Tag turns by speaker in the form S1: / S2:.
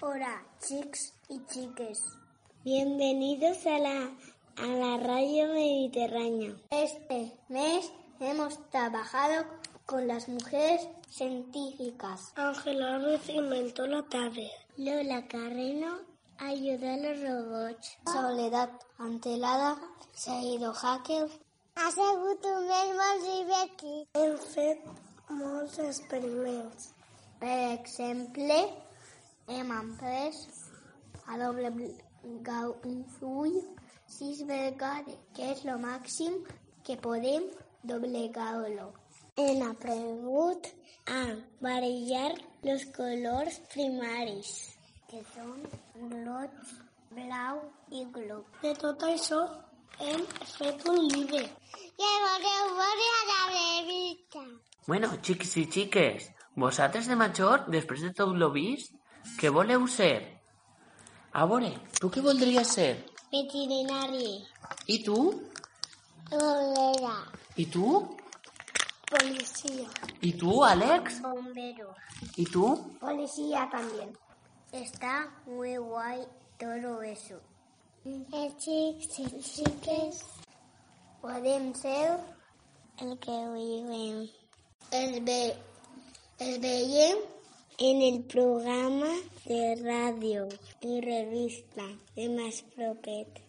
S1: Hola, chicos y chiques. Bienvenidos a la, a la radio mediterránea. Este mes hemos trabajado con las mujeres científicas. Ángela Ruiz inventó la tablet. Lola Carreno ayudó a los robots. Soledad Antelada se ha ido hacker. Ha sigut un mes molt divertit. Hem fet molts experiments. Per exemple, hem après Eh, a doblegar un full sis vegades, que és el màxim que podem doblegar-lo. Hem aprendut a barallar els colors primaris, que són roig, blau i blau. De tot això hem fet un llibre. Que voleu veure a la revista.
S2: Bueno, xics i xiques, vosaltres de major, després de tot lo vist, què voleu ser? A veure, tu què voldries ser?
S1: Veterinari.
S2: I tu?
S1: Bolera.
S2: I tu?
S1: Policía.
S2: I tu, Àlex?
S1: Bombero.
S2: I tu?
S1: Policía también. Está muy guay todo eso. El chicos y chiques pueden ser el que viven. El, ve, el veían en el programa de radio y revista de Más Propet.